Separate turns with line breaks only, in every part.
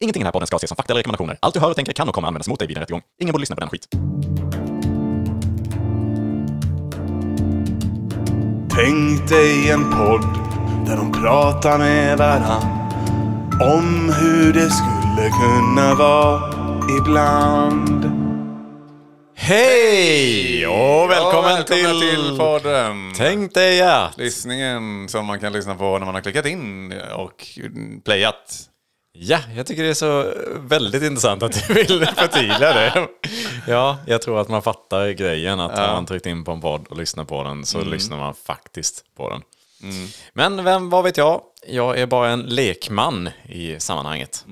Ingenting i den här podden ska ses som fakta eller rekommendationer. Allt du hör och tänker kan och kommer användas mot dig vid en rättegång. Ingen borde lyssna på den skit.
Tänk dig en podd där de pratar med varann om hur det skulle kunna vara ibland.
Hej och välkommen, till,
podden!
Tänk dig att...
Lyssningen som man kan lyssna på när man har klickat in och playat.
Ja, jag tycker det är så väldigt intressant att du vill förtydliga det. Ja, jag tror att man fattar grejen att har man tryckt in på en podd och lyssnat på den så lyssnar man faktiskt på den. Mm. Men vem, vad vet jag? Jag är bara en lekman i sammanhanget.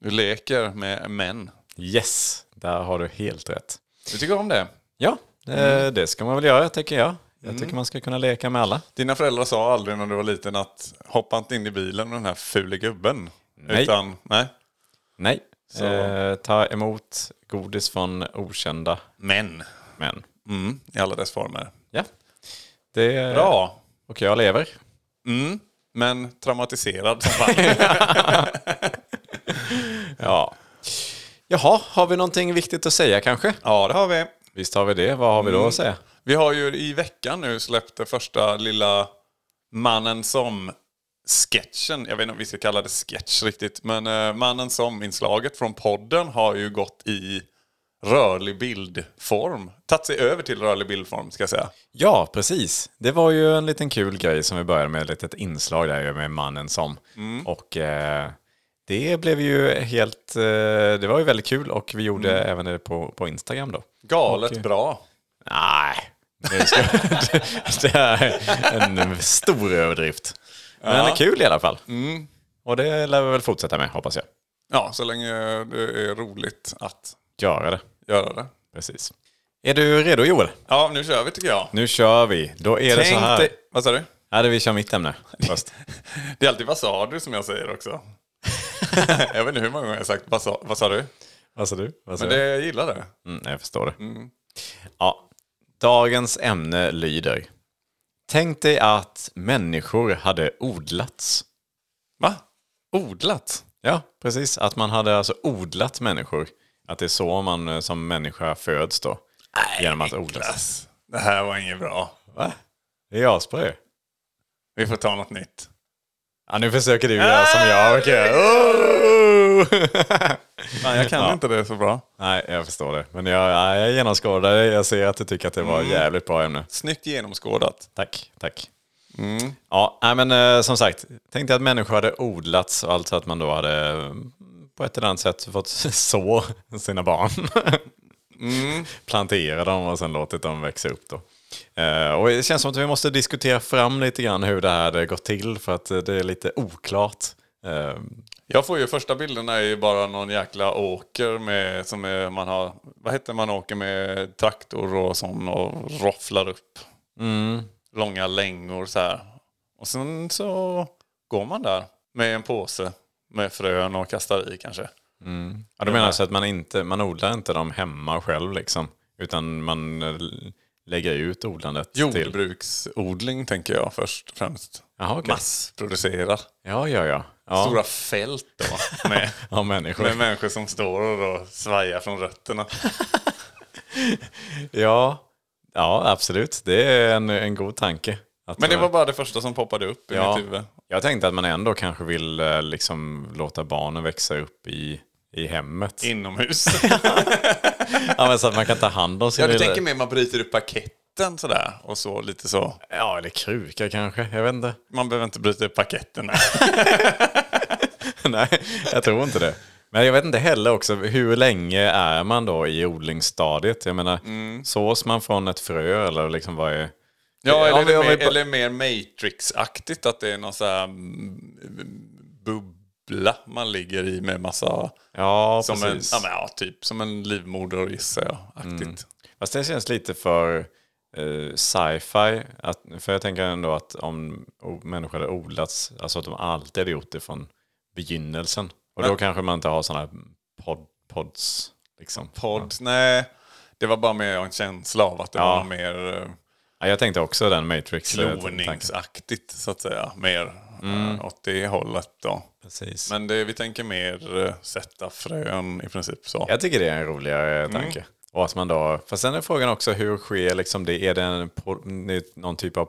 Du leker med män.
Yes, där har du helt rätt.
Du tycker om det.
Ja, eh, det ska man väl göra tycker jag. Jag tycker man ska kunna leka med alla.
Dina föräldrar sa aldrig när du var liten att hoppa inte in i bilen med den här fule gubben.
Nej.
Utan, nej.
Nej, eh, ta emot godis från okända
Män.
män.
Mm, I alla dess former.
Ja, det är
Bra.
Och jag lever.
Mm, men traumatiserad som fan.
Ja. Jaha, har vi någonting viktigt att säga kanske? Mm.
ja, det har vi.
Visst har vi det. Vad har vi då att säga?
Vi har ju i veckan nu släppt det första lilla Mannen som-sketchen. Jag vet inte om vi ska kalla det sketch riktigt. Men eh, Mannen som-inslaget från podden har ju gått i rörlig bildform. Tagit sig över till rörlig bildform ska jag säga.
Ja, precis. Det var ju en liten kul grej som vi började med, ett litet inslag där ju med mannen som. Och eh, det blev ju helt, eh, det var ju väldigt kul och vi gjorde även det på, på Instagram då.
Galet
Okej.
bra.
Nej, det, ska, det, det är en stor överdrift. Men
Ja.
kul i alla fall. Och det lär vi väl fortsätta med, hoppas jag.
Ja, så länge det är roligt att
Göra det.
göra det.
Precis. Är du redo Joel?
Ja, nu kör vi tycker jag.
Nu kör vi. Då är det så här.
dig- Vad sa du?
Ja, det vi kör mitt ämne först.
Det är alltid vad sa du som jag säger också. jag vet inte hur många gånger jag har sagt vad sa, vad sa du?
Vad sa du? Vad sa
Men
jag?
det, jag gillar det.
Mm, jag förstår det. Ja. Dagens ämne lyder. Tänk dig att människor hade odlats.
Va? Odlat?
Ja, precis. Att man hade alltså odlat människor. Att det är så man eh, som människa föds då. genom att odlas.
Niklas, det här var inget bra.
Va? Det är jag spår ju.
Vi får ta något nytt.
Ja, nu försöker du göra som
Ah!
jag brukar göra.
Nej, jag kan
Ja.
inte det så bra.
Nej, jag förstår det. Men jag, ja, jag genomskådar det. Jag ser att du tycker att det
Mm.
var ett jävligt bra ämne.
Snyggt genomskådat.
Tack, tack. Ja, nej, men eh, som sagt, tänk dig att människor hade odlats och alltså att man då hade eh, på ett eller annat sätt fått så sina barn. Plantera dem och sen låtit dem växa upp då. Eh, Och det känns som att vi måste diskutera fram lite grann hur det här hade gått till för att eh, det är lite oklart. Eh,
Jag får ju första bilderna är ju bara någon jäkla åker med, som är, man har, vad heter man åker med traktor och sån och rofflar upp
Mm.
långa längor så här. Och sen så går man där med en påse med frön och kastar i kanske.
Ja, du menar alltså att man, inte, man odlar inte dem hemma själv liksom? Utan man eh, lägger ut odlandet till...
Jordbruksodling tänker jag först och främst.
Jaha, okej.
Massproducerar.
Ja, ja, ja. ja.
Stora fält då. Med,
ja, människor.
med människor som står och då svajar från rötterna.
Ja, ja absolut. Det är en, en god tanke. Att,
Men det var bara det första som poppade upp i
Ja.
mitt huvud.
Jag tänkte att man ändå kanske vill eh, liksom, låta barnen växa upp i, i hemmet.
Inomhus.
Ja, men så att man kan ta hand om sina
ja, du
lilla-
tänker mer man bryter upp paketten sådär. Och så lite så.
ja, eller krukor kanske. Jag vet inte.
Man behöver inte bryta upp paketterna.
Nej, jag tror inte det. Men jag vet inte heller också, hur länge är man då i odlingsstadiet? Jag menar,
Mm.
sås man från ett frö eller liksom vad är...
Ja, eller,
Om vi- om vi
mer,
ba-
eller mer Matrix-aktigt. Att det är någon sån här mm, bubbla man ligger i med massa...
Ja,
Som en,
precis. Mm.
ja, men, ja, typ som en livmoder gissar jag. Aktigt.
Fast det känns lite för eh, sci-fi. Att, för jag tänker ändå att om o- människor hade odlats, alltså att de alltid hade gjort det från begynnelsen. Och då
Men-
kanske man inte har sådana pod, pods. Liksom.
Podd, nej. Det var bara mer en känsla av att det
Ja.
var mer eh,
Ja, jag tänkte också den Matrix. eh, tanken.
kloningsaktigt så att säga. Mer
Mm.
eh, åt det hållet då.
Precis.
Men det, vi tänker mer eh, sätta frön i princip så.
Jag tycker det är en roligare
Mm.
tanke. Och att man då, fast sen är frågan också hur sker liksom det? Är det en, po- någon typ av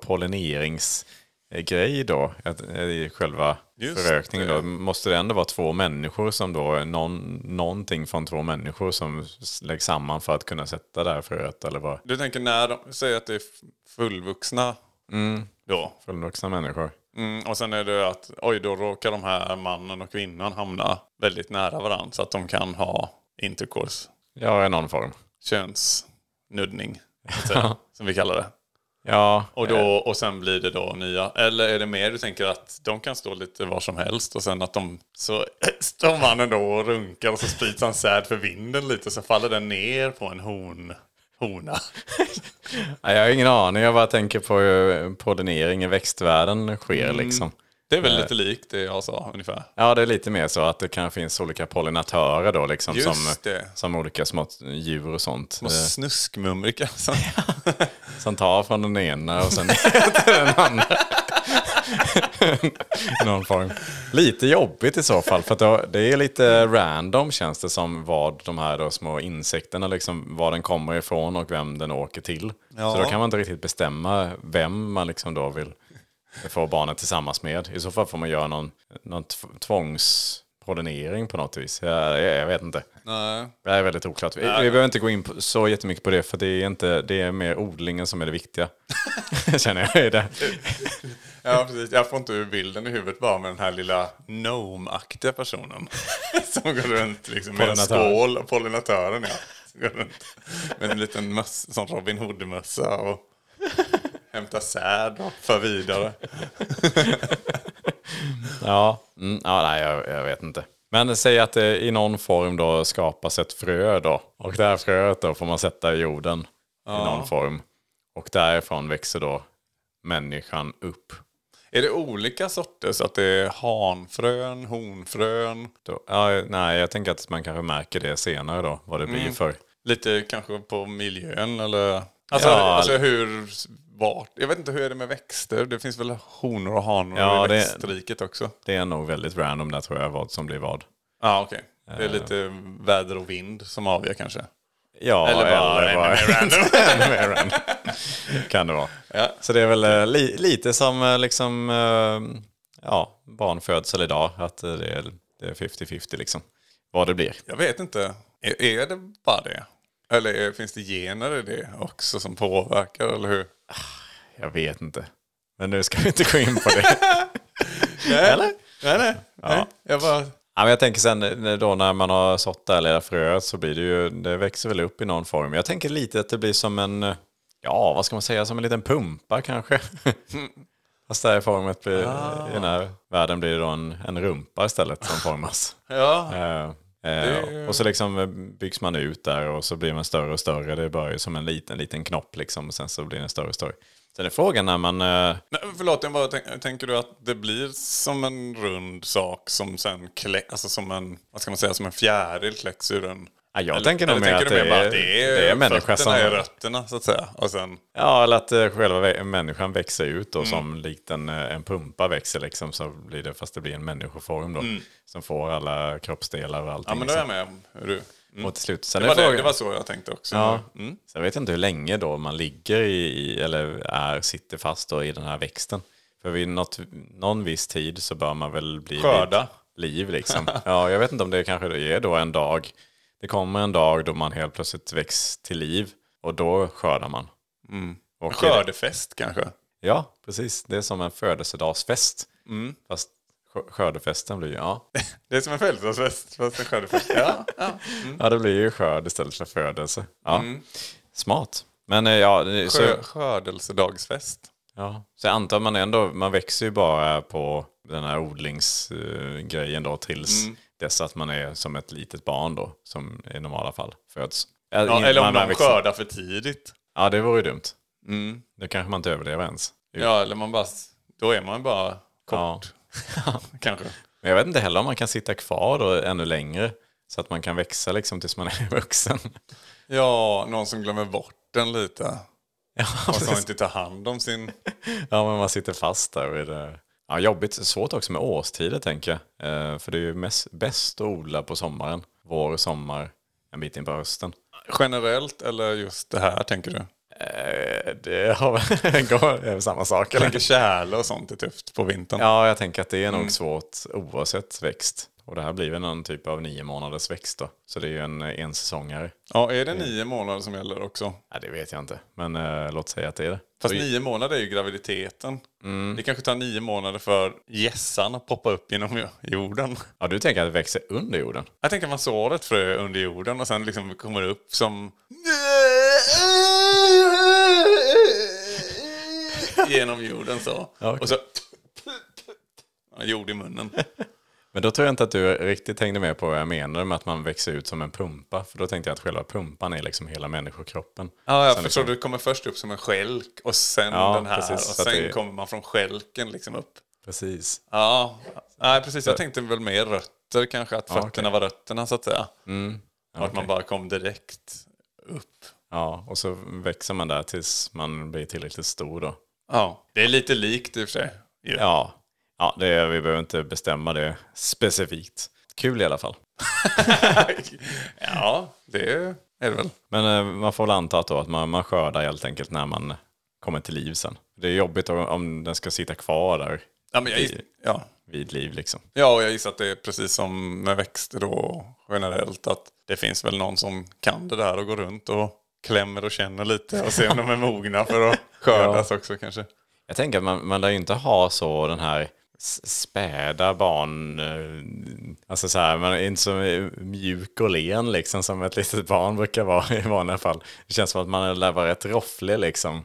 pollineringsgrej då? Att, eh, I själva
Just
förökningen
det.
då? Måste det ändå vara två människor som då, någon, någonting från två människor som s- läggs samman för att kunna sätta det här fröet? Eller vad?
Du tänker när de säger att det är f- fullvuxna
Mm.
då.
Fullvuxna människor?
Mm, och sen är det att oj då råkar de här mannen och kvinnan hamna väldigt nära varandra så att de kan ha intercourse,
Ja, i någon form.
könsnuddning så att säga, som vi kallar det.
Ja, eh,
Och, då, och sen blir det då nya. Eller är det mer du tänker att de kan stå lite var som helst och sen att de... Så står mannen då och runkar och så sprids han säd för vinden lite så faller den ner på en horn, hona.
Nej, jag har ingen aning. Jag bara tänker på hur eh, pollinering i växtvärlden sker
Mm.
liksom.
Det är väl lite likt det jag sa ungefär.
Ja, det är lite mer så att det kan finnas olika pollinatörer då liksom.
Just
Som,
det.
som olika små djur och sånt.
Och
eh,
snuskmumrika. Så.
Som tar från den ena och sen till den andra. Någon form. Lite jobbigt i så fall. För att då- det är lite random känns det som vad de här då små insekterna, liksom, var den kommer ifrån och vem den åker till. Så då kan man inte riktigt bestämma vem man liksom då vill få barnet tillsammans med. I så fall får man göra någon, någon tv- tvångspollinering på något vis. Jag, jag, jag vet inte.
Nej.
Det här är väldigt oklart. Vi, vi behöver inte gå in på, så jättemycket på det, för det är, inte, det är mer odlingen som är det viktiga. Känner jag. i Det.
Ja, precis. Jag får inte ur bilden i huvudet bara med den här lilla gnome-aktiga personen. Som går runt liksom med en
Pollinatör.
skål, och pollinatören ja. Som går runt med en liten mössa, som Robin Hood-mössa och hämtar säd och för vidare.
Ja, mm, ja nej, jag, jag vet inte. Men säg att det i någon form då skapas ett frö då. Och det här fröet då får man sätta i jorden i någon form. Och därifrån växer då människan upp.
Är det olika sorter? Så att det är hanfrön, honfrön,
Då, ja, nej, jag tänker att man kanske märker det senare då, vad det blir för.
lite kanske på miljön eller? Alltså,
Ja.
alltså hur, vart? Jag vet inte hur är det med växter? Det finns väl honor och hanor
Ja,
i
det-
växtriket också?
Det är nog väldigt random där tror jag, vad som blir vad.
Ja, okej. Det är lite väder och vind som avgör kanske.
Ja,
Eller bara
det
ännu
var-
mer random.
Ännu mer random. kan det vara.
Ja.
Så det är väl eh, li, lite som eh, liksom, eh, ja, barnfödsel idag, att eh, det är det är 50-50 liksom. Vad det blir.
Jag vet inte. Är, är det bara det? Eller är, finns det gener i det också som påverkar, eller hur?
Jag vet inte. Men nu ska vi inte gå in på det. Eller?
Nej, nej. nej. Jag bara...
Ja, men jag tänker sen eh, då när man har sått det här lilla fröet så blir det ju, det växer väl upp i någon form. Jag tänker lite att det blir som en, eh, ja vad ska man säga, som en liten pumpa kanske. Fast det här formet blir,
Ah.
i den här världen blir det då en, en rumpa istället som formas.
Ja.
Eh, eh, och så liksom eh, byggs man ut där och så blir man större och större. Det börjar ju som en liten, liten knopp liksom och sen så blir den större och större. Sen är frågan när man... eh,
Nej, förlåt, jag bara tänk, tänker du att det blir som en rund sak som sen klä, alltså som en, vad ska man säga, som en fjäril kläcks ur en...
Ja, jag tänker nog
eller
mer att
tänker du
det
bara
är- det är människa
fötterna
som-
är rötterna, så att säga. Och sen,
Ja, eller att eh, själva vä- människan växer ut då
Mm.
som likt en, eh, en pumpa växer liksom så blir det, fast det blir en människoform då. Som får alla kroppsdelar och allting.
Mm. ja men då är jag med. Hur du?
liksom. Och till slut, sen
Det,
är
var det,
frågan...
det var så jag tänkte också.
Ja.
Mm.
Sen vet jag inte hur länge då man ligger i, i- eller är, sitter fast då i den här växten. För vid något, någon viss tid så bör man väl bli vid
Skörda.
liv liksom. Ja, jag vet inte om det kanske det är då en dag. Det kommer en dag då man helt plötsligt väcks till liv och då skördar man.
Mm.
Och
Skördefest kanske?
Ja, precis. Det är som en födelsedagsfest.
Mm.
Fast skö- skördefesten blir ju, ja.
Det är som en födelsedagsfest fast en skördefest. Ja. Mm.
ja, det blir ju skörd istället för födelse. Ja. Smart. Men eh, ja, det- så,
Skö, skördelsedagsfest.
ja, så jag antar man ändå, man växer ju bara på den här odlingsgrejen då tills
Mm.
dess att man är som ett litet barn då, som i normala fall föds.
Ja, eller om
man
de
växer-
skördar för tidigt.
Ja, det vore ju dumt.
Mm.
Då kanske man inte överlever ens.
Ja, eller man bara, då är man bara
Ja.
kort kanske.
Men jag vet inte heller om man kan sitta kvar då ännu längre. Så att man kan växa liksom tills man är vuxen.
Ja, någon som glömmer bort den lite.
Ja,
Och som
precis.
inte tar hand om sin...
ja men man sitter fast där. Vid det. Ja, jobbigt. Svårt också med årstider tänker jag. Eh, för det är ju mest, bäst att odla på sommaren. Vår, sommar, en bit in på hösten.
Generellt eller just det här tänker du?
Eh, det har väl går- är väl samma sak
Jag
eller? Mm.
tänker tjäle och sånt är tufft på vintern.
Ja, jag tänker att det är nog svårt oavsett växt. Och det här blir väl någon typ av nio månaders växt då. Så det är ju en eh, ensäsongare.
Ja, är det
Mm.
nio månader som gäller också?
Ja, det vet jag inte. Men eh, låt säga att det är det.
Fast
Så-
nio månader är ju graviditeten.
Mm.
Det kanske tar nio månader för gässan att poppa upp genom jorden.
Ja, du tänker att det växer under jorden?
Jag tänker att man sår ett frö under jorden och sen liksom kommer det upp som... Genom jorden så.
okej.
Och så... Ja, Jord i munnen.
Men då tror jag inte att du riktigt hängde med på vad jag menade med att man växer ut som en pumpa. För då tänkte jag att själva pumpan är liksom hela människokroppen.
Ja, jag
Sen
förstår.
liksom-
Du kommer först upp som en skälk och sen
Ja,
den här.
precis,
och
så att
sen
det-
kommer man från skälken liksom upp.
Precis.
Ja, nej precis. Jag tänkte väl mer rötter kanske. Att fötterna
okej. Mm.
var rötterna så att säga. Och att
okej.
man bara kom direkt upp.
Ja, och så växer man där tills man blir tillräckligt stor då.
Ja, det är lite likt i och för sig. ju.
Ja, ja det, vi behöver inte bestämma det specifikt. Kul i alla fall.
ja, det är det väl.
Men eh, man får väl anta att, då, att man, man skördar helt enkelt när man kommer till liv sen. Det är jobbigt om, om den ska sitta kvar där
Ja, men jag giss,
Det-
ja.
vid liv liksom.
ja, och jag gissar att det är precis som med växter då generellt. Att det finns väl någon som kan det där och går runt och klämmer och känner lite och ser om de är mogna för att skördas också kanske.
Jag tänker att man, man lär ju inte ha så den här s- späda barn, eh, alltså så här, man är inte så mjuk och len liksom som ett litet barn brukar vara i vanliga fall. Det känns som att man lär vara rätt rofflig liksom.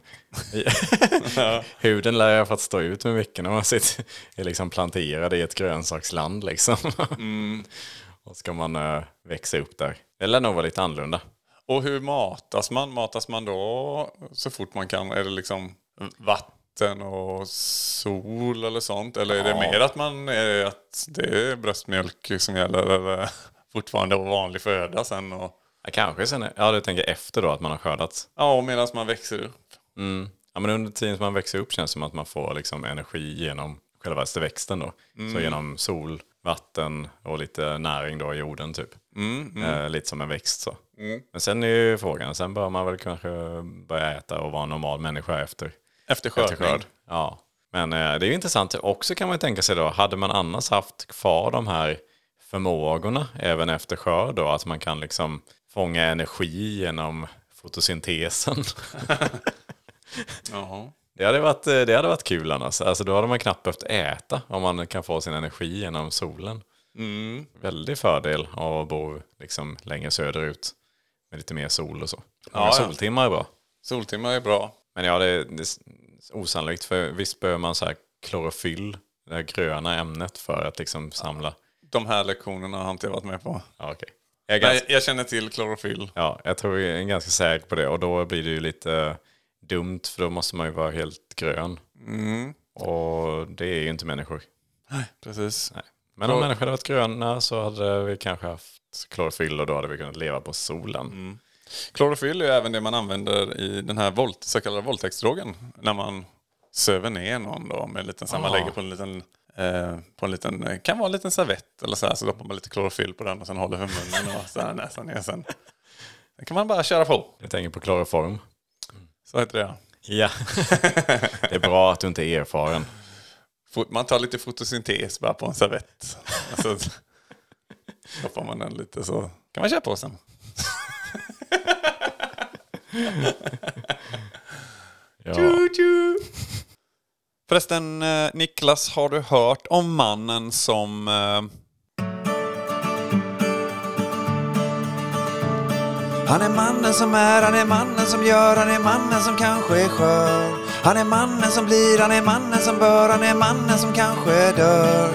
Huden lär ju ha fått stå ut med mycket när man sitter, är liksom planterad i ett grönsaksland liksom. Och ska man eh, växa upp där. Det lär nog vara lite annorlunda.
Och hur matas man? Matas man då så fort man kan? Är det liksom vatten och sol eller sånt? Eller är det
Ja.
mer att, man, är att det är bröstmjölk som gäller? Eller fortfarande vanlig föda sen? Och,
Ja, kanske sen, ja du tänker efter då att man har skördats.
ja, och medan man växer upp.
Mm. Ja, men under tiden som man växer upp känns det som att man får liksom energi genom själva växten. Då. Så genom sol, vatten och lite näring då i jorden typ. Eh, lite som en växt så. Men sen är ju frågan, sen bör man väl kanske börja äta och vara en normal människa efter, efter
Efter skördning.
skörd. Ja. Men eh, det är ju intressant också kan man ju tänka sig då, hade man annars haft kvar de här förmågorna även efter skörd då, att man kan liksom fånga energi genom fotosyntesen.
Jaha.
Det hade varit, eh, det hade varit kul annars. Alltså, då hade man knappt behövt äta om man kan få sin energi genom solen.
Mm.
Väldig fördel av att bo liksom, längre söderut med lite mer sol och så. Många
Ja, ja.
soltimmar är bra.
Soltimmar är bra.
Men ja, det är, det är s- osannolikt. För visst behöver man så här klorofyll, det här gröna ämnet för att liksom samla.
De här lektionerna har inte jag varit med på.
Ja, okej. Jag, är
Nej,
ganska,
jag känner till klorofyll.
ja, jag tror jag är ganska säker på det och då blir det ju lite dumt för då måste man ju vara helt grön.
Mm.
Och det är ju inte människor.
Precis.
Men om
Och-
människan hade varit gröna så hade vi kanske haft klorofyll och då hade vi kunnat leva på solen.
Klorofyll är ju även det man använder i den här volt, så kallade våldtäktsdrogen. När man söver ner någon då med en liten, så man
Ah.
lägger på en liten, eh, på en liten, eh, kan vara en liten servett eller så här, så doppar man lite klorofyll på den och sen håller för munnen och så här näsan ner sen. Sen kan man bara köra på,
Jag tänker på kloroform.
så heter det ja.
Ja. det är bra att du inte är erfaren.
Fot- Man tar lite fotosyntes bara på en servett. Och så doppar man den lite så kan man köra på sen.
Ja.
Tju-tju. Förresten, eh, Niklas, har du hört om mannen som... eh,
Han är mannen som är, han är mannen som gör, han är mannen som kanske är skör. Han är mannen som blir, han är mannen som bör, han är mannen som kanske dör.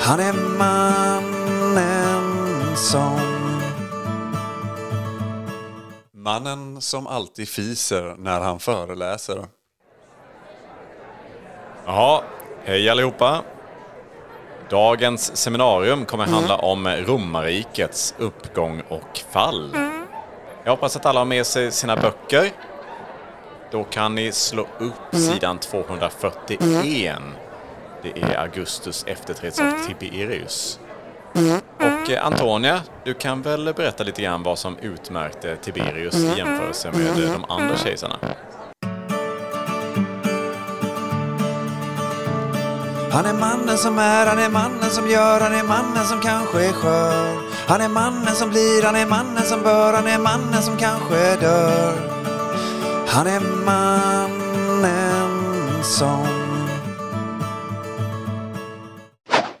Han är mannen som...
Mannen som alltid fiser när han föreläser.
Jaha, hej allihopa. Dagens seminarium kommer handla om romarrikets uppgång och fall. Jag hoppas att alla har med sig sina böcker. Då kan ni slå upp sidan 241. Det är Augustus efterträdsart Tiberius. Och eh, Antonia, du kan väl berätta lite grann vad som utmärkte Tiberius i jämförelse med eh, de andra kejsarna?
Han är mannen som är, han är mannen som gör, han är mannen som kanske är skör. Han är mannen som blir, han är mannen som bör, han är mannen som kanske dör. Han är mannen som...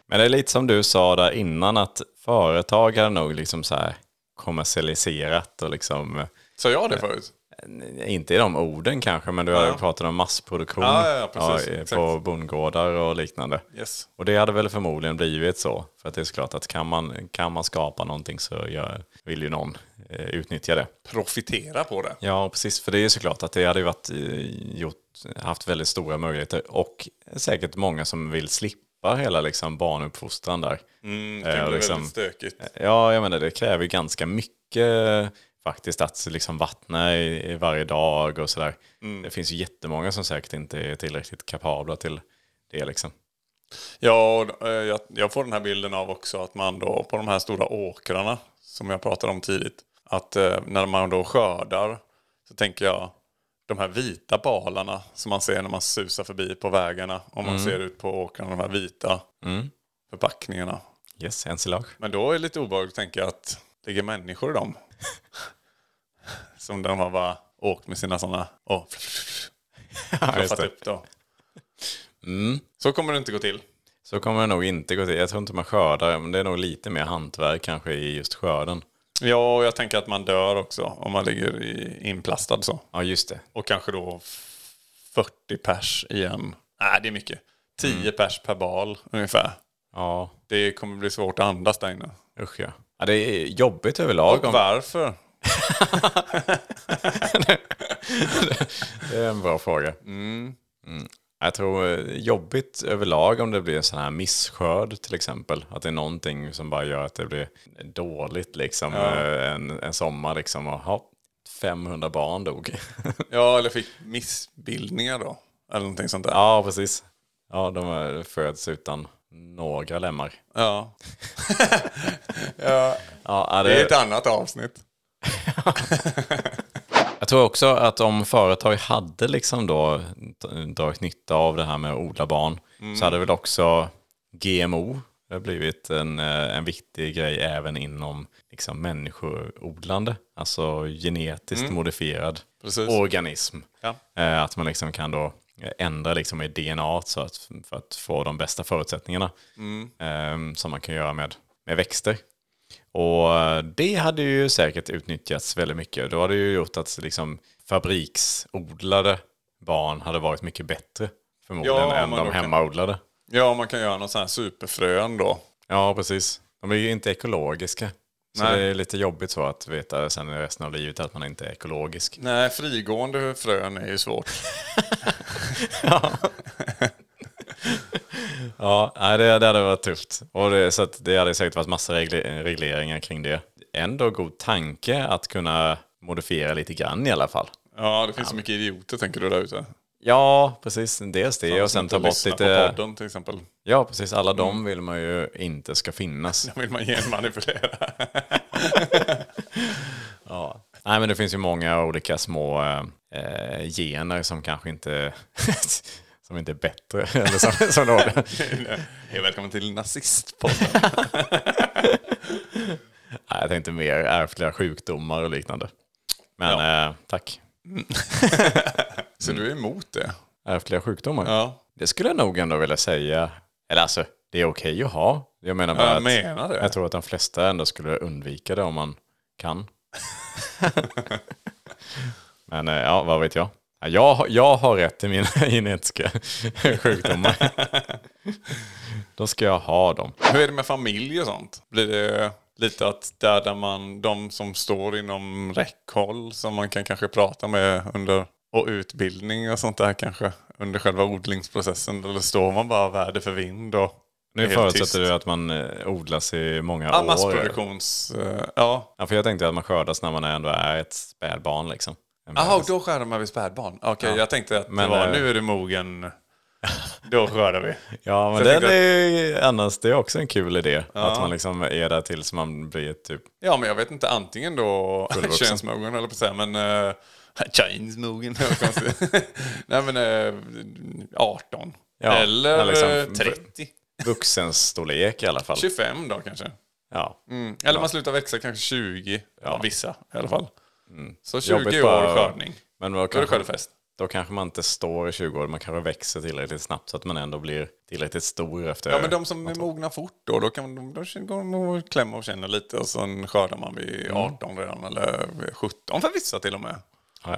Men det är lite som du sa där innan att företag hade nog liksom så här kommersialiserat och liksom, eh,
Sa jag det förut?
n- inte i de orden kanske, men du hade ju pratat om massproduktion
Ja, ja, ja, precis.
eh,
Exakt.
på bondgårdar och liknande.
Yes.
Och det hade väl förmodligen blivit så. För att det är såklart att kan man, kan man skapa någonting så gör, vill ju någon eh, utnyttja det.
Profitera på det. Mm,
Ja, precis. För det är såklart att det hade ju varit, eh, gjort, haft väldigt stora möjligheter och säkert många som vill slippa hela liksom, barnuppfostran där.
Mm,
Eh,
det kan
och
bli
liksom-
väldigt stökigt.
Ja, jag menar det kräver ju ganska mycket eh, faktiskt att liksom vattna i, i varje dag och sådär. Det finns ju jättemånga som säkert inte är tillräckligt kapabla till det liksom.
Ja, och, eh, jag, jag får den här bilden av också att man då på de här stora åkrarna som jag pratade om tidigt. Att eh, när man då skördar så tänker jag de här vita balarna som man ser när man susar förbi på vägarna. Om
Mm.
man ser ut på åkrarna, de här vita förpackningarna.
Yes, ensilage.
Men då är det lite obehagligt att tänka att det ligger människor i dem. som de har bara åkt med sina sådana och
just
fluffat
det. Mm.
upp då. Så kommer det inte gå till.
Så kommer det nog inte gå till. Jag tror inte man skördar, men det är nog lite mer hantverk kanske i just skörden.
Ja, och jag tänker att man dör också om man ligger i, inplastad så.
Ja, just det.
Och kanske då 40 pers igen. Nej, det är mycket. 10 pers per bal ungefär.
Ja,
Det kommer bli svårt att andas där inne.
usch ja. ja det är jobbigt överlag.
Och
Om,
varför?
det är en bra fråga. Mm. Jag tror eh, jobbigt överlag om det blir en sån här misskörd till exempel. Att det är någonting som bara gör att det blir dåligt liksom. eh, En, en sommar liksom. Och, hopp, 500 barn dog.
Ja, eller fick missbildningar då. Eller någonting sånt där.
ja, precis. Ja, de eh, föds utan några lemmar.
Ja.
Ja, ja,
Det är ett annat avsnitt.
Jag tror också att om företag hade liksom då dragit nytta av det här med att odla barn
Mm.
så hade väl också GMO blivit en, eh, en viktig grej även inom liksom människoodlande. Alltså genetiskt modifierad
Mm. Precis.
organism.
Ja.
Eh, Att man liksom kan då ändra liksom i DNA så att, för att få de bästa förutsättningarna
Mm.
eh, som man kan göra med, med växter. Och eh, det hade ju säkert utnyttjats väldigt mycket. Då hade det ju gjort att liksom fabriksodlade barn hade varit mycket bättre förmodligen
Ja,
än
men
de
då kan-
hemmaodlade.
Ja, man kan göra någon sån här superfrön då.
Ja, precis. De är ju inte ekologiska. Så
Nej.
det är lite jobbigt så att veta sen i resten av livet att man inte är ekologisk.
Nej, frigående frön är ju svårt.
Ja, nej, det, det hade varit tufft. Och det, så att det hade säkert varit massa regle- regleringar kring det. Ändå god tanke att kunna modifiera lite grann i alla fall.
Ja, det finns så mycket idioter tänker du där ute.
Ja, precis. Dels det och sen ta bort
Lyssna på
lite...
podden till exempel.
Ja, precis. Alla de vill man ju inte ska finnas.
Vill man genmanipulera?
Nej, men det finns ju många olika små eh, eh, gener som kanske inte... som inte är bättre. Eller som, som då,
Hej välkommen till Nazistpodden.
Nej, jag tänkte mer ärftliga sjukdomar och liknande. Men eh, tack.
Så du är emot det?
Ärftliga sjukdomar?
Ja.
Det skulle jag nog ändå vilja säga. Eller alltså, det är okej att ha. Jag menar bara
Jag
att
menar det.
jag tror att de flesta ändå skulle undvika det om man kan. Men eh, ja, vad vet jag. Ja, Jag, har- jag har rätt till mina genetiska sjukdomar. Då ska jag ha dem.
Hur är det med familj och sånt? Blir det lite att där, där man, de som står inom räckhåll som man kan kanske prata med under och utbildning och sånt där kanske under själva odlingsprocessen eller står man bara väder för vind och
Nu
är helt tyst?
förutsätter du att man eh, odlas i många
Ja,
år.
massproduktions... eh, Ja.
Ja, för jag tänkte att man skördas när man ändå är ett spädbarn liksom. En
Jaha, och då skär de här vid spädbarn. Okej, jag tänkte att
Men,
det var,
eh,
nu är du mogen. Då skördar vi.
Ja, men
Så jag
den
tänkte
är ju annars, det är också en kul idé. Att man liksom är där tills man blir typ...
Ja, men jag vet inte. Antingen då
Fullvuxen.
könsmogen eller på att säga, men... Uh, Könsmogen, det var konstigt. Nej, men eh, 18.
Ja,
eller
men liksom-
eh, 30.
Vuxenstorlek i alla fall.
25 då kanske.
Ja.
Mm. Eller man slutar växa kanske 20. Ja. Vissa i alla fall. Så 20
Mm. Jobbigt
år
bara-
skördning.
Men då
Då är det
kanske,
skördefest.
då kanske man inte står i 20 år, man kanske växer tillräckligt snabbt så att man ändå blir tillräckligt stor efter...
Ja, men de som är mogna fort då, då, kan, de- då går de och klämmer och känner lite och sen skördar man vid
Mm.
18 redan eller 17 för vissa till och med.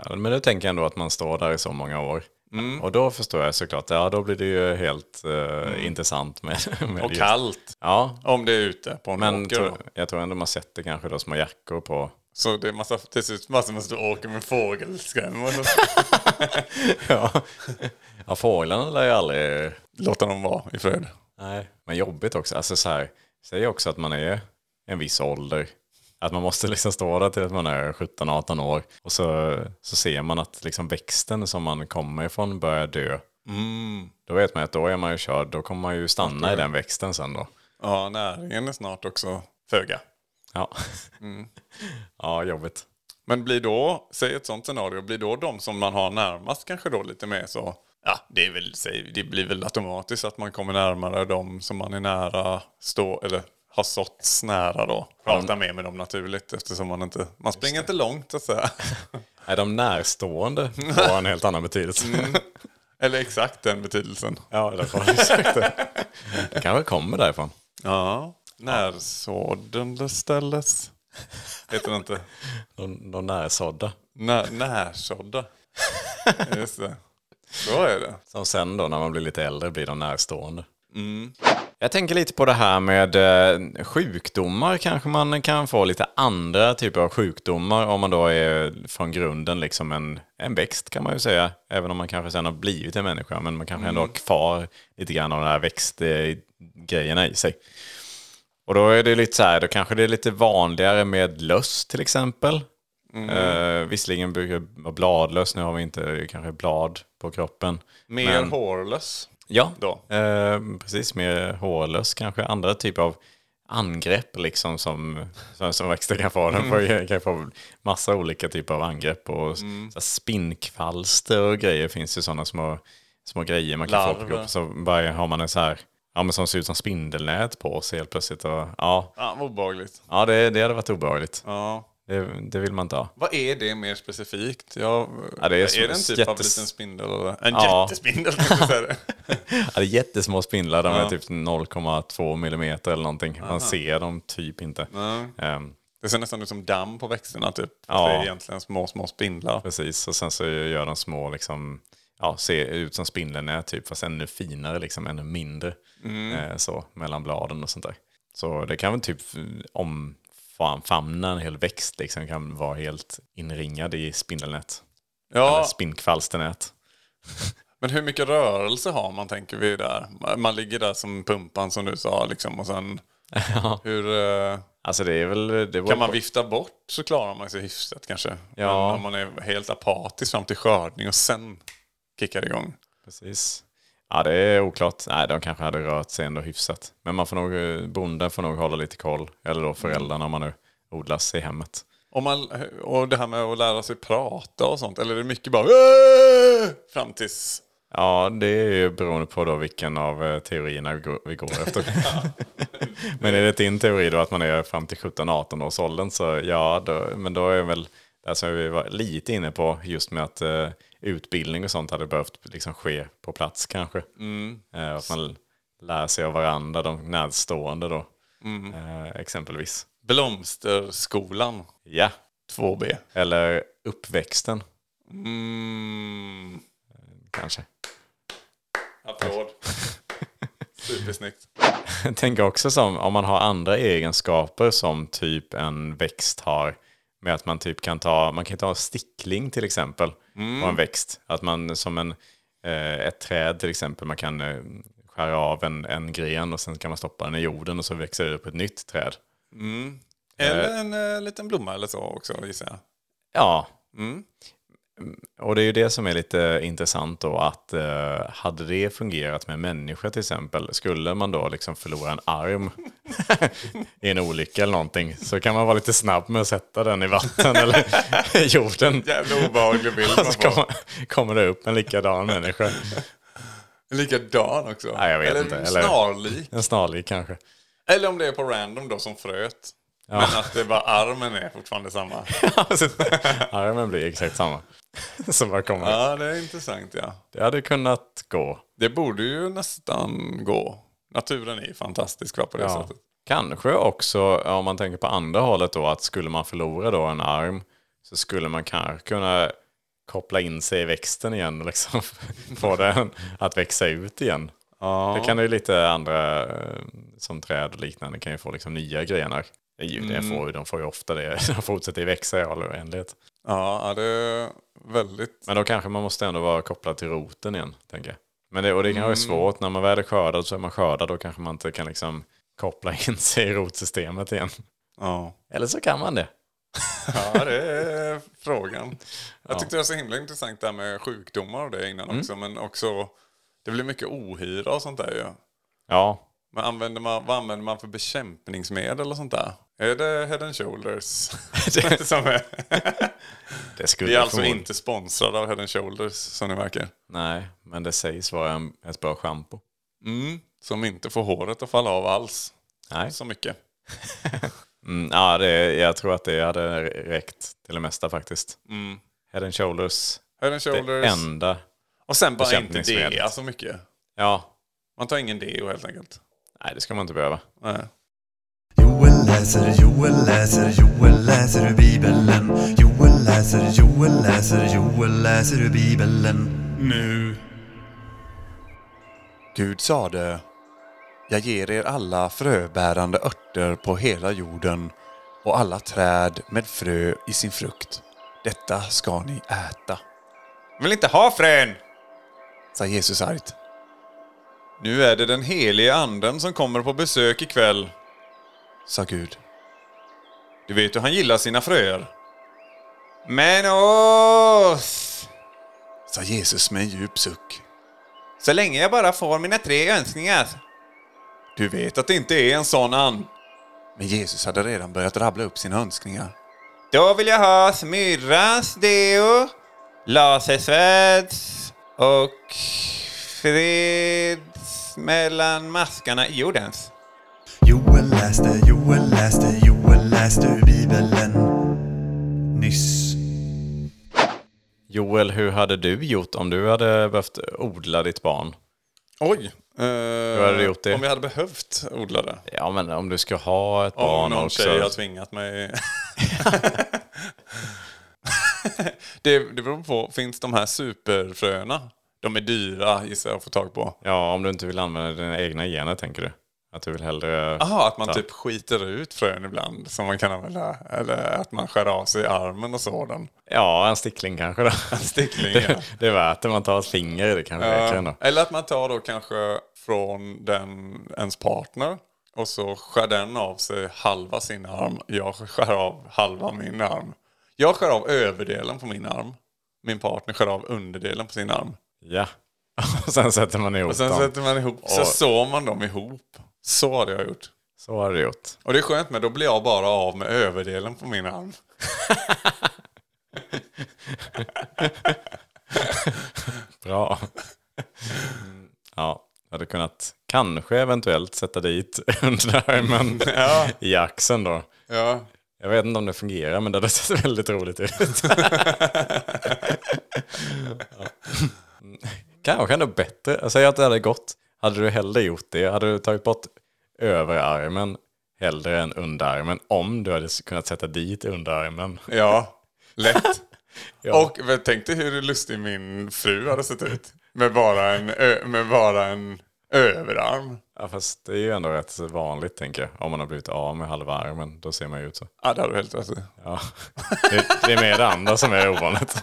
Ja, men nu tänker jag ändå att man står där i så många år.
Mm.
Och då förstår jag såklart, ja då blir det ju helt eh, intressant med, med
Och
det.
kallt
Ja,
om det är ute på en
men
åker.
tror-
då.
jag tror ändå man sätter kanske då små jackor på.
Så det är massa, till slut massor med stora åker med fågelskrämmor. Så
Ja, ja fåglarna lär ju aldrig...
låter dem vara i fred.
Nej. Men jobbigt också, alltså så här, säg också att man är en viss ålder. Att man måste liksom stå där till att man är 17-18 år. Och så, så ser man att liksom växten som man kommer ifrån börjar dö. Då vet man att då är man ju körd, då kommer man ju stanna i den växten sen då.
Ja, näringen är snart också föga.
Ja. Ja, jobbigt.
Men blir då, säg ett sånt scenario, blir då de som man har närmast kanske då lite mer så, ja det, är väl, säg, det blir väl automatiskt att man kommer närmare de som man är nära, stå, eller har såtts nära då. Prata mer med dem naturligt eftersom man inte, man springer inte långt så att säga.
Nej, de närstående har en helt annan betydelse.
eller exakt den betydelsen.
Ja, det får jag sagt det. Det kanske kommer därifrån.
Ja, närsådande ställes. Heter det inte?
De, de närsådda.
När, närsådda. Just det. Så är det.
Som sen då när man blir lite äldre blir de närstående. Jag tänker lite på det här med eh, sjukdomar. Kanske man kan få lite andra typer av sjukdomar om man då är från grunden liksom en, en växt kan man ju säga. Även om man kanske sen har blivit en människa. Men man kanske ändå har kvar lite grann av de här växtgrejerna i sig. Och då är det lite så här, då kanske det är lite vanligare med löss till exempel. Eh, visserligen brukar det vara bladlöss, nu har vi inte kanske blad på kroppen.
Mer hårlös.
Ja,
Då.
Eh, precis. Mer hårlös kanske. Andra typer av angrepp liksom som, som, som växter kan få. Den får, kan få massa olika typer av angrepp. Och mm. spinnkvalster och grejer finns ju sådana små, små grejer man kan få på
Larver.
kroppen. Så bara har man en så här, ja men som ser ut som spindelnät på sig helt plötsligt. Och, ja,
Ja, vad obehagligt.
ja det, det hade varit obehagligt.
Ja.
Det, det vill man inte ha.
Vad är det mer specifikt? Jag,
Ja, det är
är,
som-
det en typ av
jättes-
liten spindel? Eller? En
Ja.
jättespindel tänkte jag säga det.
Ja, det är jättesmå spindlar, de är typ 0,2 millimeter eller någonting. Man ser dem typ inte. Ehm,
Det ser nästan ut som damm på växterna typ.
Ja.
Det är egentligen små, små spindlar.
Precis, och sen så gör de små, liksom, ja, ser ut som spindelnät typ, fast ännu finare, liksom, ännu mindre.
Mm.
Eh, så, mellan bladen och sånt där. Så det kan väl typ omfamna en hel växt, liksom, kan vara helt inringad i spindelnät. eh, Eller
Ja,
spinnkvalsternät.
men hur mycket rörelse har man tänker vi där? Man ligger där som pumpan som du sa liksom och sen
ja,
hur... eh,
alltså det är väl... Det beror
Kan man
på-
vifta bort så klarar man sig hyfsat kanske.
Ja.
Men om man är helt apatisk fram till skördning och sen kickar det igång.
Precis. Ja, det är oklart. Nej, de kanske hade rört sig ändå hyfsat. Men man får nog, eh, bonden får nog hålla lite koll, eller då föräldrarna om man nu odlas i hemmet.
Och, man, och det här med att lära sig prata och sånt. Eller är det mycket bara "Åh!" fram tills...
Ja, det är ju beroende på då vilken av eh, teorierna vi går, vi går efter. men är det din teori då att man är fram till 17-18 års åldern så ja, då, men då är väl det som vi var lite inne på just med att eh, utbildning och sånt hade behövt liksom ske på plats kanske.
mm,
Eh, att man lär sig av varandra, de närstående då, eh, exempelvis.
Blomsterskolan
Ja,
2B.
eller uppväxten
Mm.
kanske.
Applåd. Supersnyggt.
Jag tänker också som om man har andra egenskaper som typ en växt har. Med att man typ kan ta, man kan ta stickling till exempel på en växt. Att man som en, eh, ett träd till exempel, man kan eh, skära av en, en gren och sen kan man stoppa den i jorden och så växer det upp ett nytt träd.
Eller en eh, liten blomma eller så också gissar jag.
Ja. Mm. Och det är ju det som är lite intressant då, att eh, hade det fungerat med människa till exempel, skulle man då liksom förlora en arm i en olycka eller någonting, så kan man vara lite snabb med att sätta den i vatten eller i jorden.
Jävla obehaglig bild man
Så
får.
kommer, kommer det upp en likadan människa,
Likadan också.
Nej, jag vet
eller
inte, eller-
snarlik.
en snarlik kanske.
Eller om det är på random då som fröet. Men att det är bara armen är fortfarande samma.
Alltså, Armen blir exakt samma. Så bara kommer. det.
Ja, det är intressant ja.
Det hade kunnat gå.
Det borde ju nästan gå. Naturen är ju fantastisk va, på det
Ja.
sättet.
Kanske också, om man tänker på andra hållet då, att skulle man förlora då en arm så skulle man kanske kunna koppla in sig i växten igen och liksom få den att växa ut igen. Det kan ju lite andra, eh, som träd och liknande, kan ju få liksom nya grenar. Det är ju- det får, ju- de får ju ofta det, de fortsätter ju växa i all oändlighet.
Ja, ja, det är väldigt...
Men då kanske man måste ändå vara kopplad till roten igen, tänker jag. Men det, och det kan vara svårt, när man väl är skördad så är man skördad, då kanske man inte kan liksom koppla in sig i rotsystemet igen.
Ja.
Eller så kan man det.
ja, det är frågan. Jag tyckte det var så himla intressant det här med sjukdomar och det innan också. Men också, det blir mycket ohyra och sånt där ju.
Ja,
Men använder man, vad använder man för bekämpningsmedel och sånt där? Är det head and shoulders? som är.
det skulle
Vi är alltså
förmodligen-
inte sponsrade av head and shoulders som ni märker.
Nej, men det sägs vara en, ett bra schampo.
Mm. Som inte får håret att falla av alls.
Nej.
Så mycket.
Mm, ja, det, jag tror att det hade räckt till det mesta faktiskt. Head and shoulders,
Mm. Head and
det
shoulders.
enda.
Och sen bara inte
bekämpningsmedel.
dea så mycket.
Ja,
Man tar ingen deo helt enkelt.
nej det ska man inte behöva.
Nej.
Joel läser, Joel läser, Joel läser ur Bibeln. Joel läser, Joel läser, Joel läser ur Bibeln.
Nu. Gud sade, jag ger er alla fröbärande örter på hela jorden och alla träd med frö i sin frukt. Detta ska ni äta. vill inte ha frön! sa Jesus argt. Nu är det den helige anden som kommer på besök ikväll, sa Gud. Du vet hur han gillar sina fröer. Men oss! sa Jesus med en djup suck. Så länge jag bara får mina tre önskningar. Du vet att det inte är en sån and. Men Jesus hade redan börjat rabbla upp sina önskningar. Då vill jag ha smyrrans deo, lasersvärds och freds mellan maskarna i jordens.
Joel läste, Joel läste, Joel läste ur Bibeln. Nyss.
Joel, hur hade du gjort om du hade behövt odla ditt barn?
Oj! Eh,
hade du gjort det?
Om jag hade behövt odla det.
Ja, men om du ska ha ett
Om
barn
någon
också.
tjej har tvingat mig. det, det beror på, finns de här superfröna? De är dyra gissar jag att få tag på.
Ja, om du inte vill använda dina egna gener tänker du? Att du vill hellre...
Jaha, att man
Ja.
typ skiter ut frön ibland som man kan använda. Eller att man skär av sig armen och sådan.
Ja, en stickling kanske då. En
stickling, ja.
det, det är värt det, man tar ett finger i det kanske räcker ändå.
Eller att man tar då kanske från den, ens partner och så skär den av sig halva sin arm. Jag skär av halva min arm. Jag skär av överdelen på min arm. Min partner skär av underdelen på sin arm.
Ja. Och sen sätter man ihop
Och sen
dem.
sätter man ihop, så
Och-
sår man dem ihop. Så hade jag gjort.
Så har du gjort.
Och det är skönt med, då blir jag bara av med överdelen på min arm.
Bra. Mm, Ja, jag hade kunnat kanske eventuellt sätta dit underarmen
Ja.
i axeln då.
Ja,
Jag vet inte om det fungerar men det hade sett väldigt roligt ut. ja. Mm, Kanske ändå bättre. Jag säger att det hade gått. Hade du hellre gjort det? Hade du tagit bort överarmen hellre än underarmen om du hade kunnat sätta dit underarmen?
ja lätt.
Ja.
Och men tänk dig hur lustig min fru hade sett ut. Med bara en, ö- med bara en överarm.
Ja, fast det är ju ändå rätt vanligt tänker jag. Om man har blivit av med halva armen, då ser man ju ut så.
Ja, det hade du helt rätt i.
Ja. Det, det är mer det andra som är ovanligt.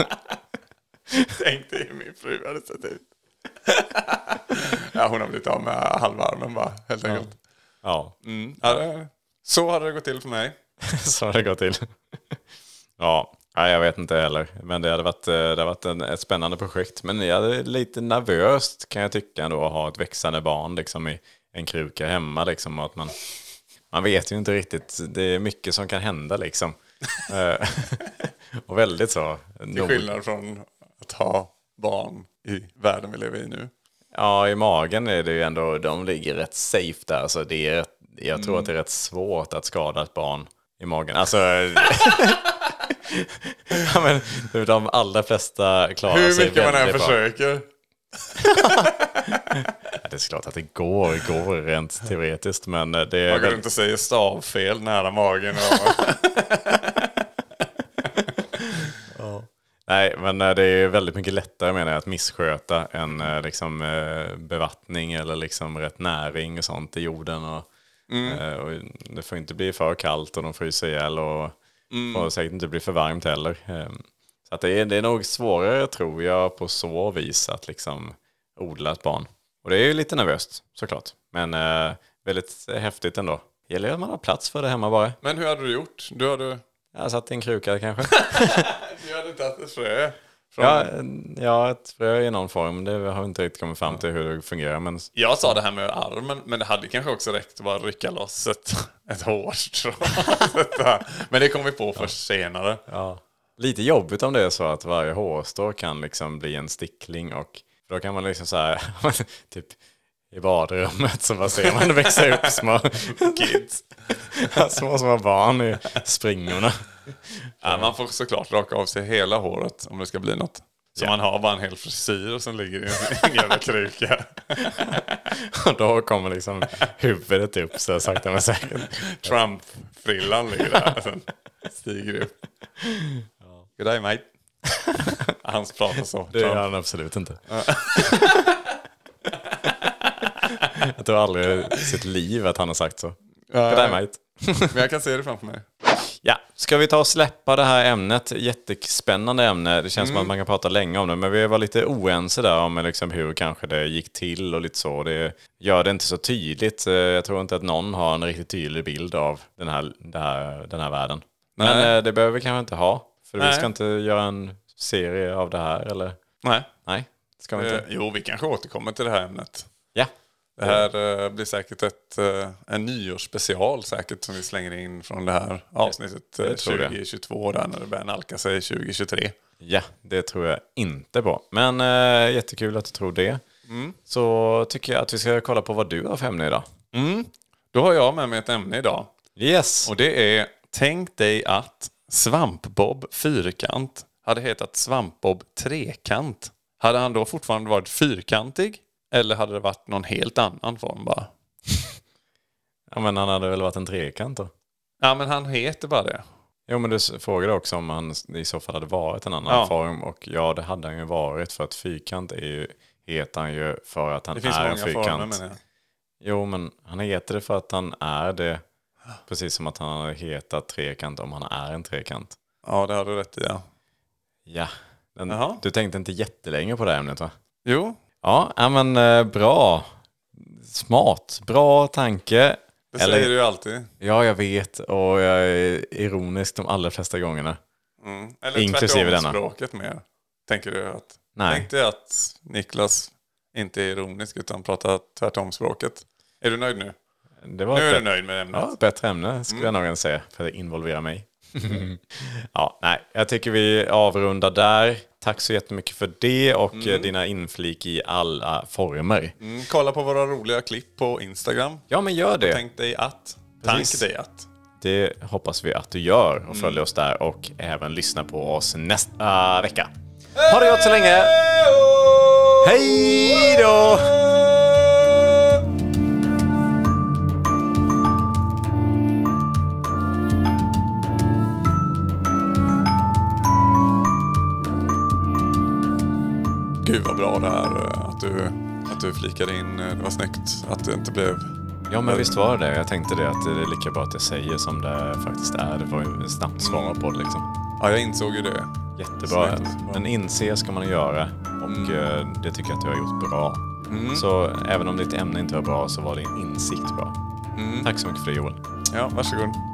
Tänk dig hur min fru hade sett ut. ja, hon har blivit av med halva armen bara, helt enkelt.
Ja,
Mm. Ja, det, så hade det gått till för mig.
så har det gått till. Ja, Nej, jag vet inte heller. Men det hade varit, eh, det hade varit en, ett spännande projekt. Men jag är lite nervöst kan jag tycka ändå att ha ett växande barn liksom, i en kruka hemma. Liksom, och att man, man vet ju inte riktigt. Det är mycket som kan hända liksom. Eh, och väldigt så.
Till skillnad från att ha barn i världen vi lever i nu.
Ja, i magen är det ju ändå, de ligger rätt safe där. Så det är, rätt- jag tror att det är rätt svårt att skada ett barn i magen. Alltså, ja, men, de allra flesta klarar
Hur
sig
mycket man än
väldigt bra.
försöker.
Ja, det är klart att det går, går rent teoretiskt, men eh, det är
Man går
väl,
runt och säger stavfel nära magen. Och,
nej, men eh, det är väldigt mycket lättare menar jag att missköta än eh, liksom, eh, bevattning eller liksom rätt näring och sånt i jorden. Och, eh, och det får inte bli för kallt och de fryser ihjäl och får säkert inte bli för varmt heller. Eh, Så att det, är, det är nog svårare tror jag på så vis att liksom odla ett barn. Och det är ju lite nervöst såklart, men eh, väldigt häftigt ändå. Gäller ju att man har plats för det hemma bara.
men hur hade du gjort? Du hade,
Jag satt i en kruka kanske.
du hade inte haft ett frö. Från,
Ja, en- ja, ett frö i någon form. Det har vi inte riktigt kommit fram till hur det fungerar. Men
Jag sa det här med armen, men det hade kanske också räckt att bara rycka loss ett, ett hårstrå. men det kom vi på först senare.
lite jobbigt om det är så att varje hårstrå kan liksom bli en stickling. Och för då kan man liksom så här, typ i badrummet så bara ser man det växa upp små kids. små, små barn i springorna.
Ja, Äh, man får såklart raka av sig hela håret om det ska bli något. Så man har bara en hel frisyr som ligger i en- en jävla kruka.
Och då kommer liksom huvudet upp så sakta men säkert.
Trump-frillan ligger där. Sen stiger det upp. Good day mate. Han pratar så.
Det gör
Trump.
han absolut inte. jag tror aldrig i sitt liv att han har sagt så. Good day, mate.
Äh, Men jag kan se det framför mig.
Ja, ska vi ta och släppa det här ämnet? Jättespännande ämne. Det känns som
Mm.
att man kan prata länge om det. Men vi var lite oense där om liksom hur kanske det gick till och lite så. Det gör det inte så tydligt. Eh, Jag tror inte att någon har en riktigt tydlig bild av den här, det här, den här världen. Men
Nej.
eh, det behöver vi kanske inte ha. För vi
Nej.
ska inte göra en serie av det här, eller?
Nej.
Nej, det ska vi inte.
Eh, Jo, vi kanske återkommer till det här ämnet.
Ja.
Det här eh, blir säkert ett, eh, en nyårsspecial säkert som vi slänger in från det här avsnittet eh,
det tror jag.
2022 där när det börjar nalka sig 2023.
Ja, det tror jag inte på. Men eh, jättekul att du tror det.
Mm.
Så tycker jag att vi ska kolla på vad du har för ämne idag.
Mm. Då har jag med mig ett ämne idag.
Yes!
Och det är Tänk dig att Svampbob Fyrkant hade hetat Svampbob Trekant. Hade han då fortfarande varit fyrkantig? Eller hade det varit någon helt annan form bara?
Ja, men han hade väl varit en trekant då?
Ja men han heter bara det.
Jo, men du s- frågade också om han s- i så fall hade varit en annan
Ja.
form. Och ja, det hade han ju varit. För att fyrkant är ju, heter han ju för att han
Det finns
är en
många former
fyrkant.
menar jag.
Jo, men han heter det för att han är det. Precis som att han hade hetat trekant om han är en trekant.
Ja det har du rätt i ja.
Ja. Men
Jaha.
du tänkte inte jättelänge på det här ämnet va?
Jo,
Ja, ja, men eh, bra. Smart. Bra tanke.
det
Eller-
säger du ju alltid.
Ja, jag vet. Och jag är ironisk de allra flesta gångerna.
Mm. Eller
Inklusive
tvärtom
denna.
språket mer. Tänker du att...
Nej.
Tänk dig att Niklas inte är ironisk utan pratar tvärtom språket. Är du nöjd nu?
Det var
Nu
ett
är du
bättre-
nöjd med ämnet.
Ja, ett bättre ämne skulle jag nog än säga, för det involverar mig.
Mm.
ja, nej, jag tycker vi avrundar där. Tack så jättemycket för det och eh, dina inflik i alla former.
Mm, kolla på våra roliga klipp på Instagram.
Ja, men gör det.
Tänk dig att.
Precis.
Tank dig att.
Det hoppas vi att du gör
Mm.
och följer oss där och även lyssna på oss nästa vecka. Ha det gott så länge! Hej då!
Gud vad bra det här eh, att du, att du flikade in. eh, Det var snyggt att det inte blev...
Ja, men visst var det det. Jag tänkte det att det är lika bra att jag säger som det faktiskt är. Det var ju snabbt svar på det liksom.
Ja, jag insåg ju det.
Jättebra.
Snyggt.
Men inse ska man göra och eh, det tycker jag att du har gjort bra. Så även om ditt ämne inte var bra så var din insikt bra. Tack så mycket för det Joel.
Ja, varsågod.